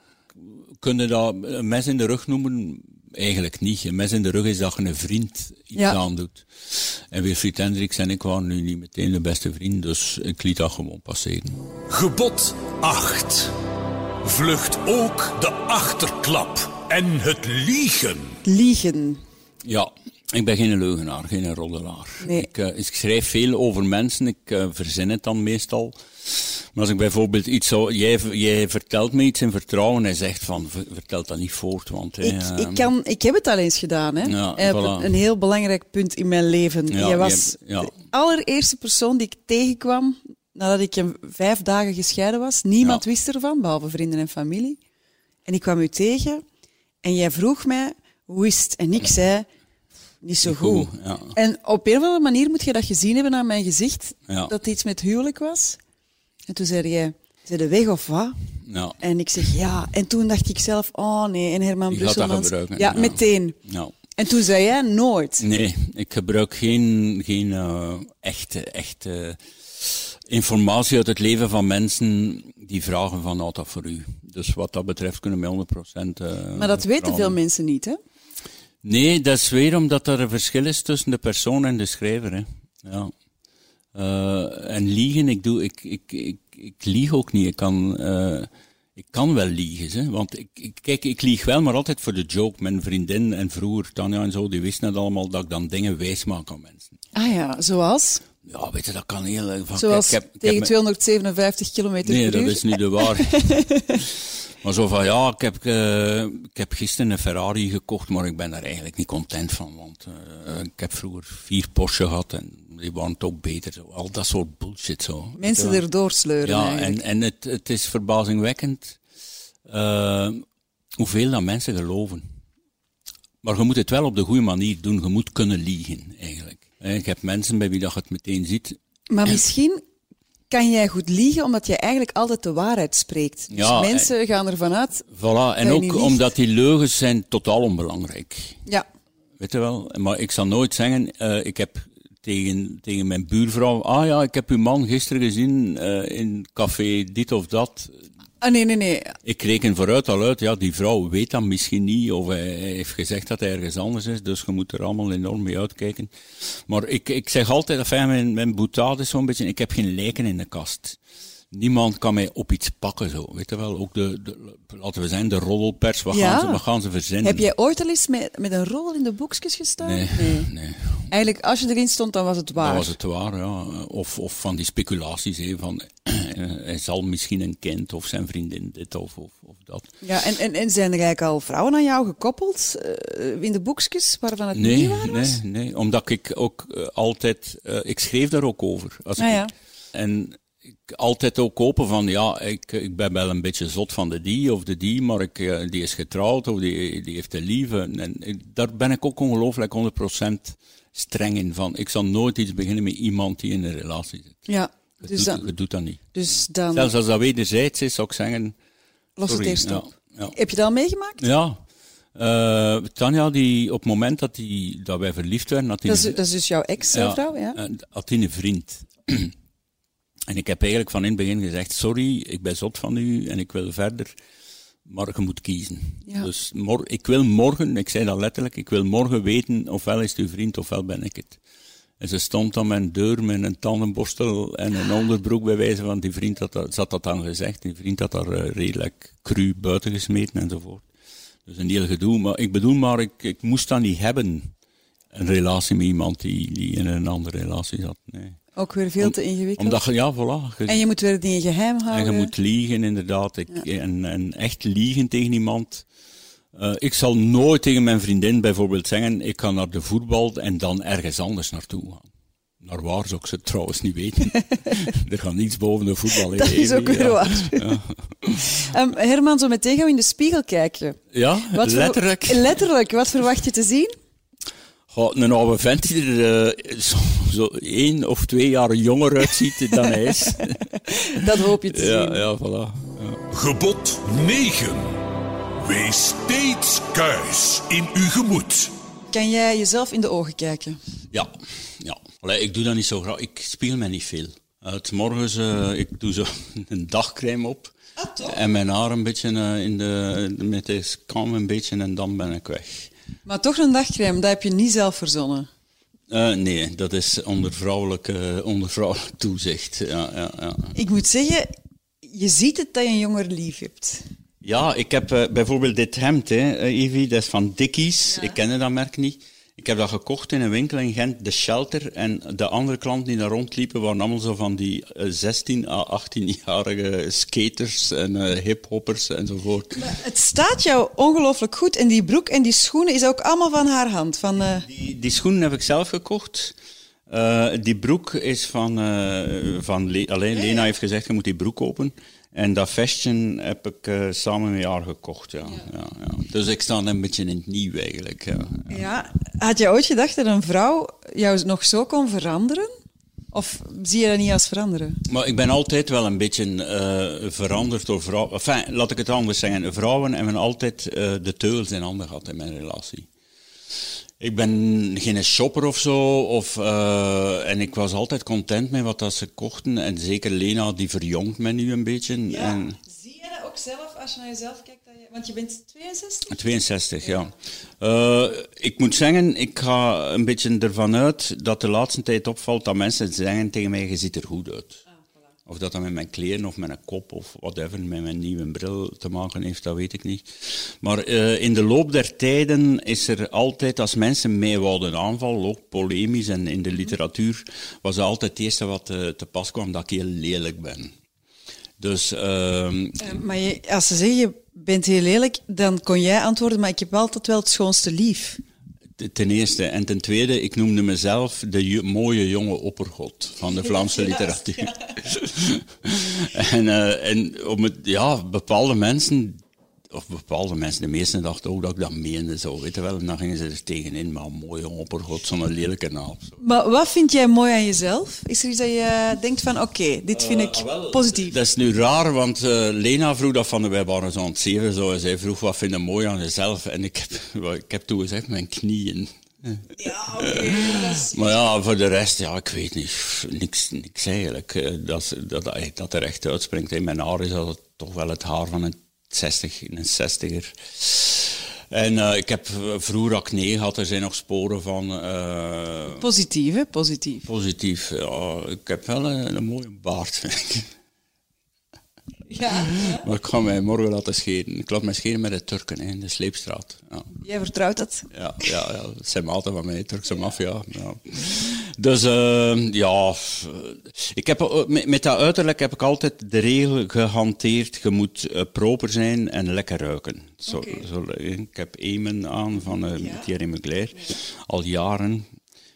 C: kunnen dat een mes in de rug noemen? Eigenlijk niet. Een mes in de rug is dat je een vriend iets
B: Ja.
C: aan doet. En Wilfried Hendricks en ik waren nu niet meteen de beste vrienden, dus ik liet dat gewoon passeren.
D: Gebod 8. Vlucht ook de achterklap en het liegen.
B: Liegen.
C: Ja, ik ben geen leugenaar, geen roddelaar.
B: Nee.
C: Ik, eh, ik schrijf veel over mensen, ik eh, verzin het dan meestal. Maar als ik bijvoorbeeld iets zou... Jij, jij vertelt me iets in vertrouwen en zegt van, "Ver- vertel dat niet voort, want... hè,
B: Ik,
C: eh,
B: ik, kan, ik heb het al eens gedaan. Hè.
C: Ja,
B: Eh,
C: voilà.
B: Een heel belangrijk punt in mijn leven.
C: Ja,
B: Jij was
C: je hebt- ja.
B: de allereerste persoon die ik tegenkwam nadat ik een vijf dagen gescheiden was. Niemand
C: Ja.
B: wist ervan, behalve vrienden en familie. En ik kwam u tegen en jij vroeg mij hoe is het? En ik zei, niet zo goed.
C: goed, ja.
B: En op een of andere manier moet je dat gezien hebben aan mijn gezicht,
C: Ja.
B: dat iets met huwelijk was. En toen zei jij, ze de weg of wat?
C: Ja,
B: En ik zeg ja. En toen dacht ik zelf, oh nee, en Herman
C: Die gaat dat
B: Brusselmans.
C: gebruiken,
B: ja,
C: ja.
B: meteen.
C: ja.
B: En toen zei jij nooit.
C: Nee, ik gebruik geen, geen eh, echte, echte eh, informatie uit het leven van mensen die vragen van nou, dat voor u. Dus wat dat betreft kunnen wij 100% eh
B: Maar dat weten
C: vertrouwen.
B: veel mensen niet, hè?
C: Nee, dat is weer omdat er een verschil is tussen de persoon en de schrijver. Hè. Ja. Eh, en liegen, ik, doe, ik, ik, ik, ik lieg ook niet. Ik kan, eh, ik kan wel liegen. Hè. Want ik, ik, kijk, ik lieg wel, maar altijd voor de joke. Mijn vriendin en vroeger Tanja en zo, die wisten het allemaal dat ik dan dingen wijs maak aan mensen.
B: Ah ja, zoals?
C: Ja, weet je, dat kan heel erg. Van,
B: Zoals
C: ik heb- ik heb
B: tegen
C: me-
B: 257 kilometer
C: Nee,
B: per
C: dat
B: uur.
C: is niet de waar. maar zo van, ja, ik heb, eh, ik heb gisteren een Ferrari gekocht, maar ik ben daar eigenlijk niet content van. Want eh, ik heb vroeger vier Porsche gehad en die waren toch beter. Zo. Al dat soort bullshit zo.
B: Mensen erdoor sleuren
C: Ja,
B: eigenlijk.
C: en, en het, het is verbazingwekkend eh, hoeveel dat mensen geloven. Maar je moet het wel op de goede manier doen. Je moet kunnen liegen, eigenlijk. Eh, Ik heb mensen bij wie dat je het meteen ziet.
B: Maar misschien kan jij goed liegen omdat je eigenlijk altijd de waarheid spreekt. Dus
C: Ja, eh-
B: mensen gaan ervan uit.
C: Voilà, en
B: je niet
C: ook
B: liegt.
C: omdat die leugens zijn totaal onbelangrijk.
B: Ja,
C: Weet je wel? Maar ik zal nooit zeggen, eh, ik heb tegen, tegen mijn buurvrouw, ah ja, ik heb uw man gisteren gezien eh, in café dit of dat.
B: ah, nee, nee, nee.
C: Ik reken vooruit al uit, ja, die vrouw weet dat misschien niet, of hij, hij heeft gezegd dat hij ergens anders is, dus je moet er allemaal enorm mee uitkijken. Maar ik, ik zeg altijd, enfin, mijn, mijn boetade is zo'n beetje, ik heb geen lijken in de kast. Niemand kan mij op iets pakken, zo. Weet je wel, ook de, de laten we zijn, de roddelpers, wat,
B: Ja.
C: gaan, ze, wat gaan ze verzinnen?
B: Heb jij ooit al eens met, met een rol in de boekjes gestaan?
C: Nee, nee.
B: Eigenlijk, als je erin stond, dan was het waar.
C: Dat was het waar, ja. Of, of van die speculaties, hè, van hij zal misschien een kind of zijn vriendin dit of, of, of dat.
B: Ja, en, en, en zijn er eigenlijk al vrouwen aan jou gekoppeld eh, in de boekjes waarvan het
C: Nee,
B: niet waar was?
C: nee, nee. Omdat ik ook eh, altijd, eh, ik schreef daar ook over. Als
B: Ah,
C: ik,
B: ja.
C: En ik altijd ook open van, ja, ik, ik ben wel een beetje zot van de die of de die, maar ik, eh, die is getrouwd of die, die heeft een lieve. En ik- daar ben ik ook ongelooflijk 100% streng in van. Ik zal nooit iets beginnen met iemand die in een relatie zit.
B: Ja,
C: Je,
B: dus
C: doet,
B: dan,
C: je doet dat niet.
B: dus dan
C: Zelfs als dat wederzijds is, zou ik zeggen...
B: los het
C: sorry,
B: eerst op.
C: ja, ja.
B: Heb je dat al meegemaakt?
C: Ja. Eh, Tanja, die, op het moment dat, die, dat wij verliefd werden, had die,
B: Dat is, dat is dus jouw ex-vrouw, ja.
C: eh, had die een vriend. en ik heb eigenlijk van in het begin gezegd, sorry, ik ben zot van u en ik wil verder. Maar je moet kiezen.
B: Ja.
C: Dus mor- ik wil morgen, ik zei dat letterlijk, ik wil morgen weten ofwel is het uw vriend ofwel ben ik het. En ze stond aan mijn deur met een tandenborstel en een onderbroek bij wijze van die vriend had dat, ze had dat dan gezegd. Die vriend had daar eh, redelijk cru buiten gesmeten enzovoort. Dus een heel gedoe. Maar ik bedoel maar, ik, ik moest dat niet hebben. Een relatie met iemand die, die in een andere relatie zat. Nee.
B: Ook weer veel
C: Om-
B: te ingewikkeld.
C: Omdat je, ja, voilà. je-
B: En je moet weer dingen geheim
C: en
B: houden.
C: je moet liegen, inderdaad. Ik, en, en echt liegen tegen iemand. Eh, ik zal nooit tegen mijn vriendin bijvoorbeeld zeggen, ik ga naar de voetbal en dan ergens anders naartoe gaan. Naar waar zou ik ze trouwens niet weten. er gaat niets boven de voetbal. hè,
B: Dat is
C: Evi,
B: ook weer
C: ja.
B: waar. Ehm, Herman, zo meteen gaan we in de spiegel kijken.
C: Ja,
B: Wat voor-
C: letterlijk.
B: letterlijk, wat verwacht je te zien?
C: Goh, een oude vent die er eh, zo, zo één of twee jaar jonger uitziet dan hij is.
B: Dat hoop je te zien.
C: ja, ja, voilà.
D: Gebod 9. Wees steeds kuis in uw gemoed.
B: Kan jij jezelf in de ogen kijken?
C: Ja, ja. Allee, ik doe dat niet zo graag. Ik speel mij niet veel. Eh, 's morgens, eh, ik doe zo een dagcrème op. en mijn haar een beetje eh, in de, met de kam een beetje en dan ben ik weg.
B: Maar toch een dagcrème, dat heb je niet zelf verzonnen.
C: Eh, nee, dat is onder vrouwelijk, eh, onder vrouwelijk toezicht. Ja, ja, ja.
B: Ik moet zeggen, je ziet het dat je een jonger lief hebt.
C: Ja, ik heb eh, bijvoorbeeld dit hemd, hè, eh, Ivy, dat is van Dickies. Ik kende dat merk niet. Ik heb dat gekocht in een winkel in Gent, de Shelter. En de andere klanten die daar rondliepen waren allemaal zo van die eh, 16 à 18-jarige skaters en eh, hiphoppers enzovoort.
B: Het staat jou ongelooflijk goed en die broek en die schoenen is ook allemaal van haar hand. Van, eh,
C: Die, die schoenen heb ik zelf gekocht. Eh, die broek is van, eh, van Le- alleen Lena heeft gezegd, je moet die broek kopen. En dat vestje heb ik eh, samen met haar gekocht, ja. Ja. Ja, Dus ik sta een beetje in het nieuw eigenlijk, ja.
B: ja. Had je ooit gedacht dat een vrouw jou nog zo kon veranderen? Of zie je dat niet als veranderen?
C: Maar ik ben altijd wel een beetje eh, veranderd door vrouwen. Enfin, laat ik het anders zeggen. Vrouwen hebben altijd eh, de teugels in handen gehad in mijn relatie. Ik ben geen shopper of zo. Of, eh, en ik was altijd content met wat dat ze kochten. En zeker Lena, die verjongt me nu een beetje. En
B: Zie je dat ook zelf als je naar jezelf kijkt? want je bent 62?
C: 62, ja. Eh, ik moet zeggen, ik ga een beetje ervan uit dat de laatste tijd opvalt dat mensen zeggen tegen mij, je ziet er goed uit. Of dat dat met mijn kleren of met een kop of whatever, met mijn nieuwe bril te maken heeft, dat weet ik niet. Maar eh, in de loop der tijden is er altijd, als mensen mij wouden aanvallen, ook polemisch en in de literatuur, was dat altijd het eerste wat eh, te pas kwam, dat ik heel lelijk ben. Dus ehm,
B: Eh, maar je- als ze zeggen, je bent heel lelijk, dan kon jij antwoorden, maar ik heb altijd wel het schoonste lief.
C: T- Ten eerste. En ten tweede, ik noemde mezelf de ju- mooie jonge oppergod van de Vlaamse literatuur. en, eh, en om het, ja, bepaalde mensen, of bepaalde mensen, de meesten dachten ook dat ik dat meende zo, weet je wel. En dan gingen ze er tegenin, maar mooie jonge oppergod, zo'n lelijke naam. Zo.
B: Maar wat vind jij mooi aan jezelf? Is er iets dat je denkt van, oké, dit vind ik positief?
C: Dat is nu raar, want eh, Lena vroeg dat van de wij waren zo aan het zeven, zo, en zij vroeg wat vind je mooi aan jezelf. En ik heb, ik heb toen gezegd, mijn knieën.
B: Ja, oké.
C: Maar ja, voor de rest, ja, ik weet niet. Pff, Niks, niks eigenlijk. eh, Dat, dat, dat er echt uitspringt. In mijn haar is dat toch wel het haar van een 60, een 60er. En eh, ik heb eh, vroeger acne gehad, er zijn nog sporen van. eh,
B: Positief, hè? Positief.
C: positief, ja, ik heb wel een, een mooie baard, vind ik.
B: Ja.
C: Maar ik ga mij morgen laten scheren. Ik laat mij scheren met de Turken hè, in de Sleepstraat. Ja.
B: Jij vertrouwt dat?
C: ja, ja, ja. Dat zijn maten van mij, Turkse maffia. Ja. Dus eh, ja, f- ik heb, eh, met, met dat uiterlijk heb ik altijd de regel gehanteerd, je moet eh, proper zijn en lekker ruiken. Zo, eh, zo, ik heb Emen aan van eh Thierry Mugler, al jaren.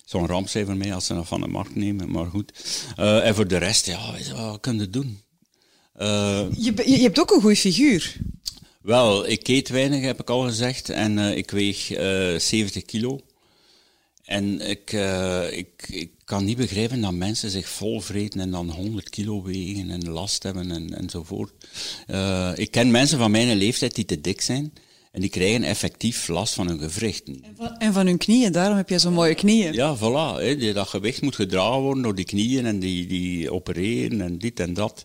C: Zo'n ramp zijn voor mij als ze dat van de markt nemen, maar goed. Eh, en voor de rest, ja, weet je, wat kunnen doen? Eh,
B: Je, be- je, je hebt ook een goede figuur.
C: wel, ik eet weinig, heb ik al gezegd. En eh, ik weeg eh, 70 kilo. En ik, eh, ik, ik kan niet begrijpen dat mensen zich vol vreten en dan 100 kilo wegen en last hebben en, enzovoort. Eh, ik ken mensen van mijn leeftijd die te dik zijn. En die krijgen effectief last van hun gewrichten.
B: En van hun knieën, daarom heb je zo'n mooie knieën.
C: Ja, voilà. Hè. Die- Dat gewicht moet gedragen worden door die knieën en die, die opereren en dit en dat.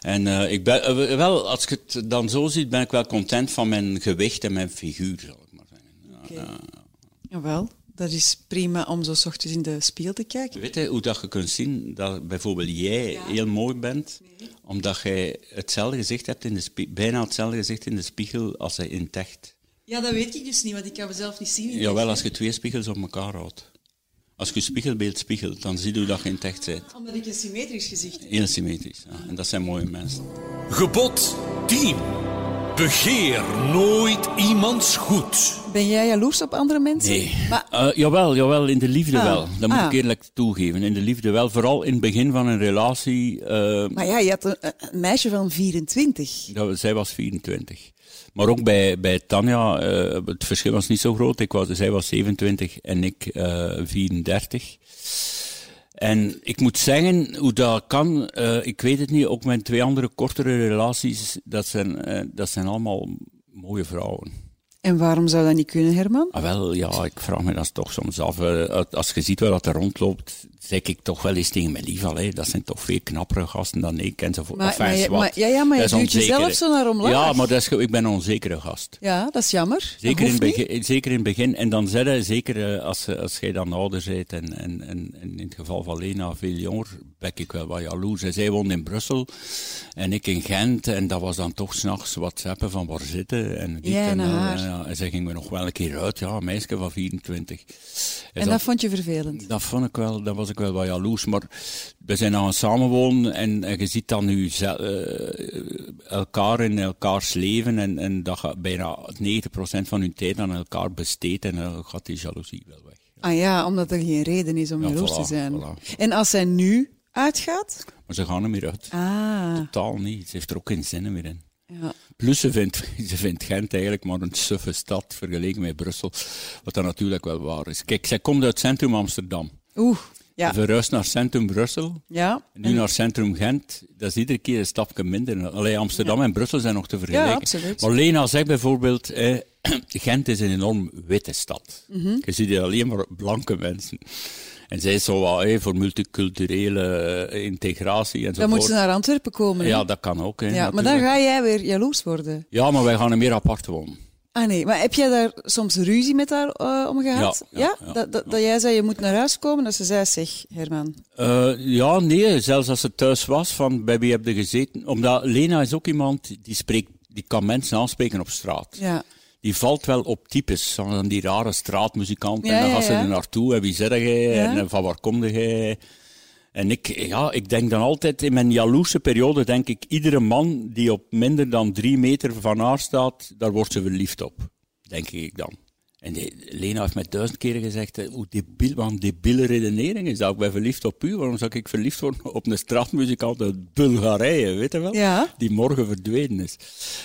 C: En eh, ik ben, eh, wel, als ik het dan zo zie, ben ik wel content van mijn gewicht en mijn figuur, zal ik maar zeggen.
B: Jawel, dat is prima om zo 's ochtends in de spiegel te kijken.
C: Weet je hoe dat je kunt zien dat bijvoorbeeld jij heel mooi bent, omdat jij hetzelfde gezicht hebt in de spie- bijna hetzelfde gezicht in de spiegel als hij in techt.
B: Ja, dat weet ik dus niet, want ik kan mezelf niet zien.
C: Jawel, als je twee spiegels op elkaar houdt. Als je je spiegelbeeld spiegelt, dan zie je hoe dat je in techt bent.
B: Omdat ik een symmetrisch gezicht heb.
C: Heel symmetrisch. ja. En dat zijn mooie mensen.
D: Gebod 10. Begeer nooit iemands goed.
B: Ben jij jaloers op andere mensen?
C: Nee.
B: Maar,
C: Eh, jawel, jawel, in de liefde
B: Ah,
C: wel. Dat moet
B: ah.
C: ik eerlijk toegeven. In de liefde wel. Vooral in het begin van een relatie. eh,
B: maar ja, je had een, een meisje van 24.
C: dat, zij was 24. Maar ook bij, bij Tanja, eh, het verschil was niet zo groot. Ik was, zij was 27 en ik eh 34. En ik moet zeggen, hoe dat kan, eh, ik weet het niet. Ook mijn twee andere kortere relaties, dat zijn, eh, dat zijn allemaal mooie vrouwen.
B: En waarom zou dat niet kunnen, Herman?
C: Ah, wel, ja, ik vraag me dat toch soms af. eh, uit- Als je ziet waar dat er rondloopt, zeg ik toch wel eens tegen mijn lief al, hè. Dat zijn toch veel knappere gasten dan ik enzovoort.
B: Maar-
C: Enfin,
B: maar je-
C: zwart.
B: maar- ja, ja, maar je
C: Dat is
B: duwt jezelf
C: onzeker.
B: zo naar omlaag.
C: Ja, maar dat is, ge- ik ben een onzekere gast.
B: Ja, dat is jammer.
C: Zeker in,
B: dat
C: het
B: hoeft niet.
C: begin, zeker in het begin. En dan zeg je, zeker eh, als, als jij dan ouder bent, en, en, en, en in het geval van Lena veel jonger, ben ik wel wat jaloers. En zij woonde in Brussel en ik in Gent. En dat was dan toch s'nachts whatsappen van waar zitten. En, dit
B: Ja,
C: en,
B: naar
C: dat.
B: haar.
C: En, ja, en zij ging me nog wel een keer uit, ja, een meisje van 24. En
B: En dat vond je vervelend.
C: dat vond ik wel, daar was ik wel wat jaloers. Maar we zijn nou aan het samenwonen en, en je ziet dan nu ze- eh, elkaar in elkaars leven. En, en dat gaat bijna 90% van hun tijd aan elkaar besteedt. En dan gaat die jaloezie wel weg.
B: Ah ja, omdat er geen reden is om
C: Ja,
B: jaloers
C: voilà,
B: te zijn.
C: voilà.
B: En als zij nu uitgaat?
C: Maar ze gaan er meer uit.
B: Ah,
C: Totaal niet. Ze heeft er ook geen zin meer in.
B: ja.
C: Plus, ze vindt, ze vindt Gent eigenlijk maar een suffe stad vergeleken met Brussel. Wat dan natuurlijk wel waar is. Kijk, zij komt uit centrum Amsterdam.
B: Oeh,
C: Ze
B: ja.
C: verhuist naar centrum Brussel.
B: Ja,
C: Nu naar Centrum Gent, dat is iedere keer een stapje minder. Allee, Amsterdam en Brussel zijn nog te vergelijken.
B: Ja, absoluut.
C: Maar Lena zegt bijvoorbeeld, eh, Gent is een enorm witte stad.
B: Mhm.
C: Je ziet hier alleen maar blanke mensen. En zij is zo wat eh, voor multiculturele eh, integratie enzovoort.
B: dan moet ze naar Antwerpen komen. hè?
C: Ja, dat kan ook. hè,
B: ja maar dan
C: natuurlijk.
B: ga jij weer jaloers worden.
C: ja, maar wij gaan er meer apart wonen.
B: Ah nee, maar heb jij daar soms ruzie met haar eh, om gehad?
C: Ja, ja, ja.
B: dat, dat, dat jij zei je moet naar huis komen, dat ze zei zeg Herman.
C: Eh, ja, nee, zelfs als ze thuis was, van bij wie heb je gezeten? Omdat Lena is ook iemand die spreekt, die kan mensen aanspreken op straat.
B: Ja.
C: die valt wel op types. Van die rare straatmuzikanten.
B: Ja,
C: en dan
B: ja,
C: gaan ze
B: ja.
C: er naartoe. En wie zeg jij?
B: Ja.
C: En eh, van waar kom jij? En ik, ja, ik denk dan altijd, in mijn jaloerse periode, denk ik, iedere man die op minder dan drie meter van haar staat, daar wordt ze verliefd op. Denk ik dan. En die- Lena heeft mij duizend keren gezegd, eh, hoe debiel, wat een debiele redenering is dat. Ik ben verliefd op u, waarom zou ik verliefd worden op een straatmuzikant uit Bulgarije, weet je wel?
B: Ja.
C: Die morgen verdwenen is.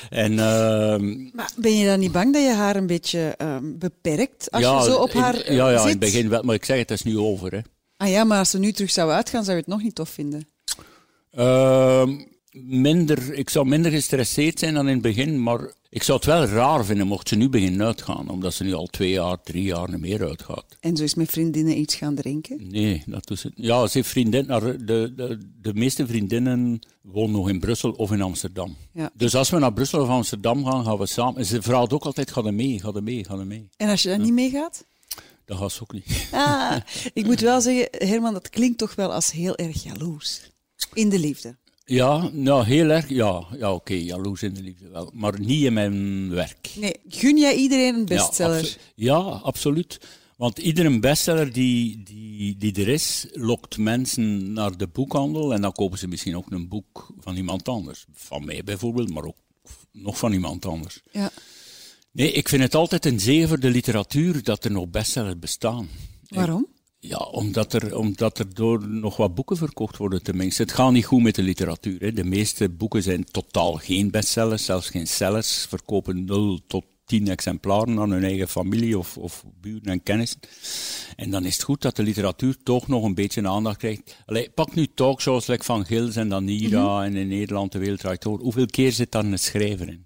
C: En... ehm,
B: Maar ben je dan niet bang dat je haar een beetje ehm, beperkt als je zo op
C: in-
B: haar eh,
C: ja, ja, in het
B: zit?
C: begin wel, maar ik zeg het, dat is nu over. Hè.
B: Ah ja, maar als ze nu terug zou uitgaan, zou je het nog niet tof vinden.
C: Ehm, minder, ik zou minder gestresseerd zijn dan in het begin, maar ik zou het wel raar vinden mocht ze nu beginnen uitgaan, omdat ze nu al twee jaar, drie jaar niet meer uitgaat.
B: En zo is met vriendinnen iets gaan drinken.
C: Nee, dat doet ze niet. Ja, ze heeft vriendin, haar- de, de, de meeste vriendinnen wonen nog in Brussel of in Amsterdam.
B: Ja.
C: Dus als we naar Brussel of Amsterdam gaan, gaan we samen. en Ze vraagt ook altijd, ga er mee, ga er mee, ga er mee.
B: En als je daar niet mee gaat?
C: Dat gaat ze ook niet.
B: Ah, ik moet wel zeggen, Herman, dat klinkt toch wel als heel erg jaloers. In de liefde.
C: Ja, nou heel erg. Ja, ja oké, jaloers in de liefde wel. Maar niet in mijn werk.
B: Nee, gun jij iedereen een
C: Ja,
B: bestseller?
C: abso- ja, absoluut. Want iedere bestseller die, die, die er is, lokt mensen naar de boekhandel. En dan kopen ze misschien ook een boek van iemand anders. Van mij bijvoorbeeld, maar ook nog van iemand anders.
B: Ja.
C: Nee, ik vind het altijd een zegen voor de literatuur dat er nog bestsellers bestaan.
B: Waarom?
C: Ja, omdat er, omdat er door nog wat boeken verkocht worden tenminste. Het gaat niet goed met de literatuur. Hè. De meeste boeken zijn totaal geen bestsellers, zelfs geen sellers. Verkopen 0 tot 10 exemplaren aan hun eigen familie of, of buren en kennissen. En dan is het goed dat de literatuur toch nog een beetje aandacht krijgt. Allee, pak nu talkshows like Van Gils en Danira en in Nederland de wereld draait door. Hoeveel keer zit daar een schrijver in?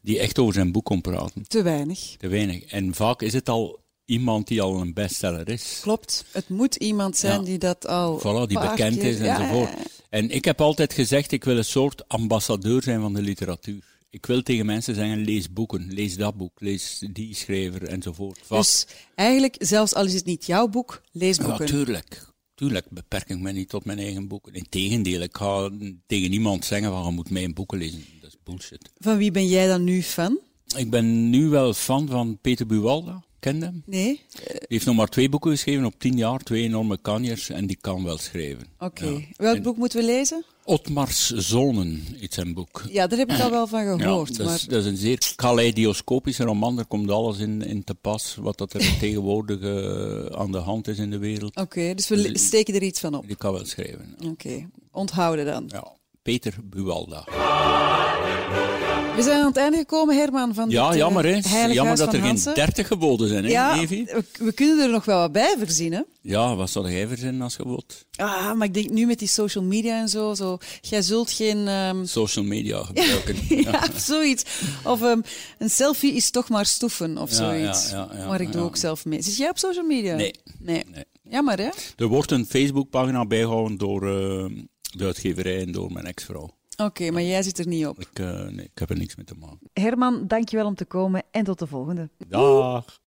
C: Die echt over zijn boek komt praten.
B: Te weinig.
C: Te weinig. En vaak is het al iemand die al een bestseller is.
B: Klopt. Het moet iemand zijn
C: Ja.
B: die dat al.
C: Voilà, die
B: een paar
C: bekend
B: keer-
C: is
B: Ja,
C: enzovoort.
B: ja, ja.
C: En ik heb altijd gezegd, ik wil een soort ambassadeur zijn van de literatuur. Ik wil tegen mensen zeggen, lees boeken, lees dat boek, lees die schrijver enzovoort. Vaak-
B: Dus eigenlijk, zelfs al is het niet jouw boek, lees
C: ja,
B: boeken.
C: tuurlijk. Tuurlijk beperk ik me niet tot mijn eigen boeken. Integendeel, ik ga tegen niemand zeggen van, je moet mijn boeken lezen. Dat is bullshit.
B: Van wie ben jij dan nu fan?
C: Ik ben nu wel fan van Peter Buwalda, ken je hem?
B: Nee?
C: Die heeft nog maar twee boeken geschreven op tien jaar, twee enorme kanjers, en die kan wel schrijven.
B: Oké. Welk boek moeten we lezen?
C: Otmars Zonen is zijn boek.
B: Ja, daar heb ik al wel van gehoord.
C: Ja, dat,
B: maar
C: is, dat is een zeer kaleidoscopische roman. Daar komt alles in, in te pas wat dat er tegenwoordig eh, aan de hand is in de wereld.
B: Oké, dus
C: Eh,
B: we le- steken er iets van op.
C: Die kan wel schrijven.
B: Oké, onthouden dan.
C: Ja. Peter Buwalda.
B: We zijn aan het einde gekomen, Herman, van dit,
C: Ja,
B: eh,
C: jammer
B: Heilig
C: hè.
B: Huis
C: Jammer dat
B: van
C: er geen
B: Hansen.
C: 30 geboden zijn, hè,
B: Ja,
C: Evi?
B: we, we kunnen er nog wel wat bij voorzien, hè.
C: Ja, wat zou jij verzinnen als gebod?
B: Ah, maar ik denk nu met die social media en zo, zo jij zult geen... ehm,
C: Social media gebruiken.
B: ja, zoiets. Of ehm, een selfie is toch maar stoeven, of
C: Ja,
B: zoiets.
C: ja, ja, ja,
B: maar ik doe
C: ja.
B: ook zelf mee. Zit jij op social media?
C: Nee.
B: Nee.
C: Nee.
B: Jammer, hè?
C: Er wordt een Facebookpagina bijgehouden door eh, de uitgeverij en door mijn ex-vrouw.
B: Oké, maar jij zit er niet op.
C: Ik, eh, nee, ik heb er niks mee te maken.
B: Herman, dankjewel om te komen en tot de volgende.
C: Dag.